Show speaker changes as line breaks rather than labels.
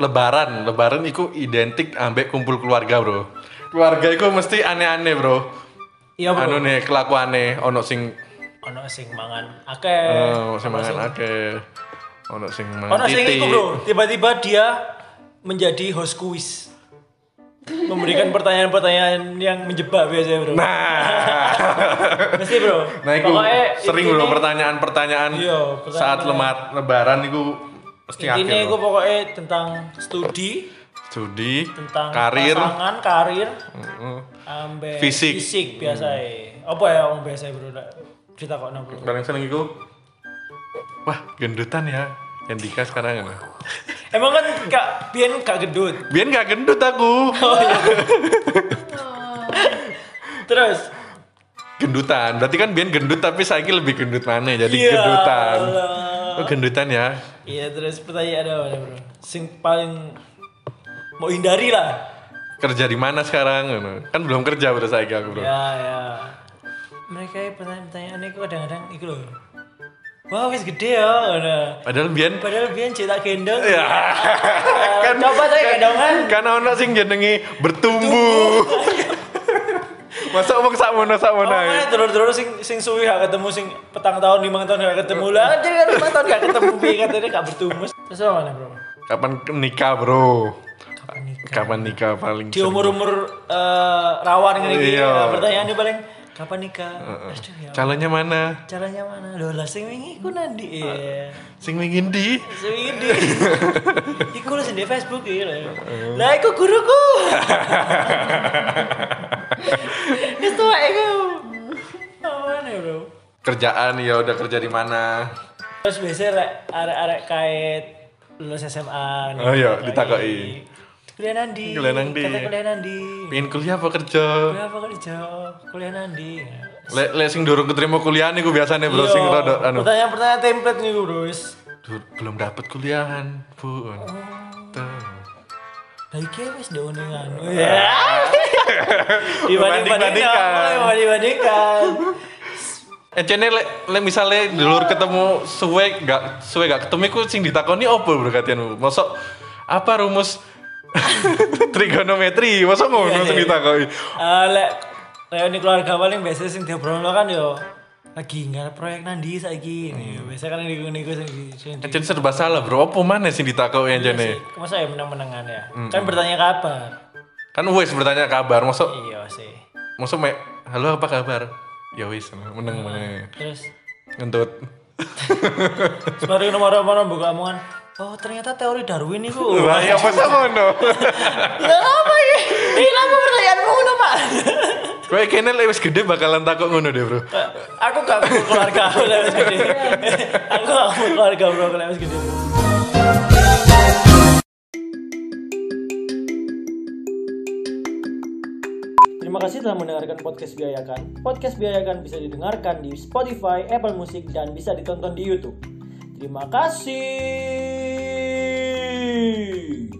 lebaran, lebaran itu identik ambek kumpul keluarga, Bro. Keluarga itu mesti aneh-aneh, Bro.
Iya, Bro.
Anu nih kelakuane ono sing
Ono sing mangan akeh.
eh, sing
ono
mangan
sing-
akeh. Ono sing
Ono
mangan
sing
titik.
iku, Bro. Tiba-tiba dia menjadi host kuis. Memberikan pertanyaan-pertanyaan yang menjebak biasanya, Bro.
Nah.
Mesti, Bro.
Nah, itu
Pokoknya
sering
intine-
loh pertanyaan-pertanyaan
Iya,
saat
pertanyaan.
lemat lebaran itu mesti
Intinya
akeh.
itu
loh.
pokoknya tentang studi,
Studi,
tentang
karir,
pasangan, karir,
heeh.
ambe
Fisik. Mm.
fisik biasanya. Apa ya yang biasa bro? Nek Cerita kok nang bro.
paling sering itu wah gendutan ya Hendika sekarang ya.
Emang kan kak Bian kak gedut.
Biar gak gendut aku.
Terus
gendutan. Berarti kan Bian gendut tapi saya lebih gendut mana jadi
Ya
gendutan.
Allah.
Oh, gendutan ya.
Iya terus pertanyaan ada apa bro? Sing paling mau hindari lah.
Kerja di mana sekarang? Kan belum kerja udah saya aku, Bro.
Ya ya. Mereka pertanyaan-pertanyaan itu kadang-kadang itu loh. Wah wis gede ya. Nah.
Padahal Bian
Padahal Bian cetak gendong.
ya
kan, coba saya gendongan.
kan ono sing jenenge bertumbuh. Masa omong sak mono sak mono.
Oh,
ae.
mana dulur-dulur sing sing suwi gak ketemu sing petang tahun lima tahun gak ketemu lah. Jadi kan lima tahun gak ketemu piye katanya gak bertumbuh. Terus apa mana bro?
Kapan nikah, Bro?
Kapan nikah?
Kapan nikah paling
Di umur umur rawan ngene iki
Iya.
ya, pertanyaannya paling kapan nikah? Aduh ya.
sering? Calonnya mana?
Caranya mana? Loh lah sing wingi iku
Eh.
nandi. Iya.
Sing wingi ndi?
Sing wingi di. Iku lu sendiri Facebook ya. Lah
Eh.
Lah, iku guruku. Wis tuwa iku. Apa mana bro?
Kerjaan ya udah kerja di mana?
Terus biasanya rek arek-arek kait lulus SMA. nih,
Oh iya,
ditakoki.
ditakoki.
Kuliah nandi.
Kuliah Iya. nandi.
Kata kuliah nandi.
Pengen kuliah apa kerja?
Kuliah apa kerja? Kuliah nandi.
Lek le sing durung keterima kuliah niku biasane bro
Iya,
sing rada anu.
Pertanyaan-pertanyaan template nih bro. wis.
"Dur, belum dapat kuliahan, Bu. Tuh.
Lah iki wis dioningan. Ya. Dibanding-bandingkan.
Dibanding-bandingkan.
oh, Dibanding-bandingkan.
Encene lek lek misale dulur ketemu suwe gak suwe gak ketemu iku sing ditakoni opo bro katianmu? Mosok apa rumus trigonometri? Mosok ngono
Iya,
sing
iya.
ditakoni.
Eh, Lek reuni keluarga paling biasanya sing diobrolno kan yo lagi ngarep proyek nandi saiki. Nih, Biasanya kan niku-niku sing di- sing di-
Encen Eh, serba salah bro, opo maneh sing ditakoni
sih.
encene?
Masa ya menang-menangan ya? Kan bertanya kabar.
Kan wis bertanya kabar, mosok
Iya sih.
mosok mek halo apa kabar? Ya wis meneng meneng.
Terus
Ngentut.
sebaru nomor-nomor buka omongan. Oh ternyata teori Darwin itu.
Lah ya masa ngono?
Lah apa ya? Ini apa pertanyaanmu ngono pak?
Kowe kene lek wis gede bakalan takut ngono deh, Bro.
aku gak mau keluarga aku lewat gede. aku gak mau keluarga bro aku lewat gede. Terima kasih telah mendengarkan podcast Biayakan. Podcast Biayakan bisa didengarkan di Spotify, Apple Music, dan bisa ditonton di YouTube. Terima kasih.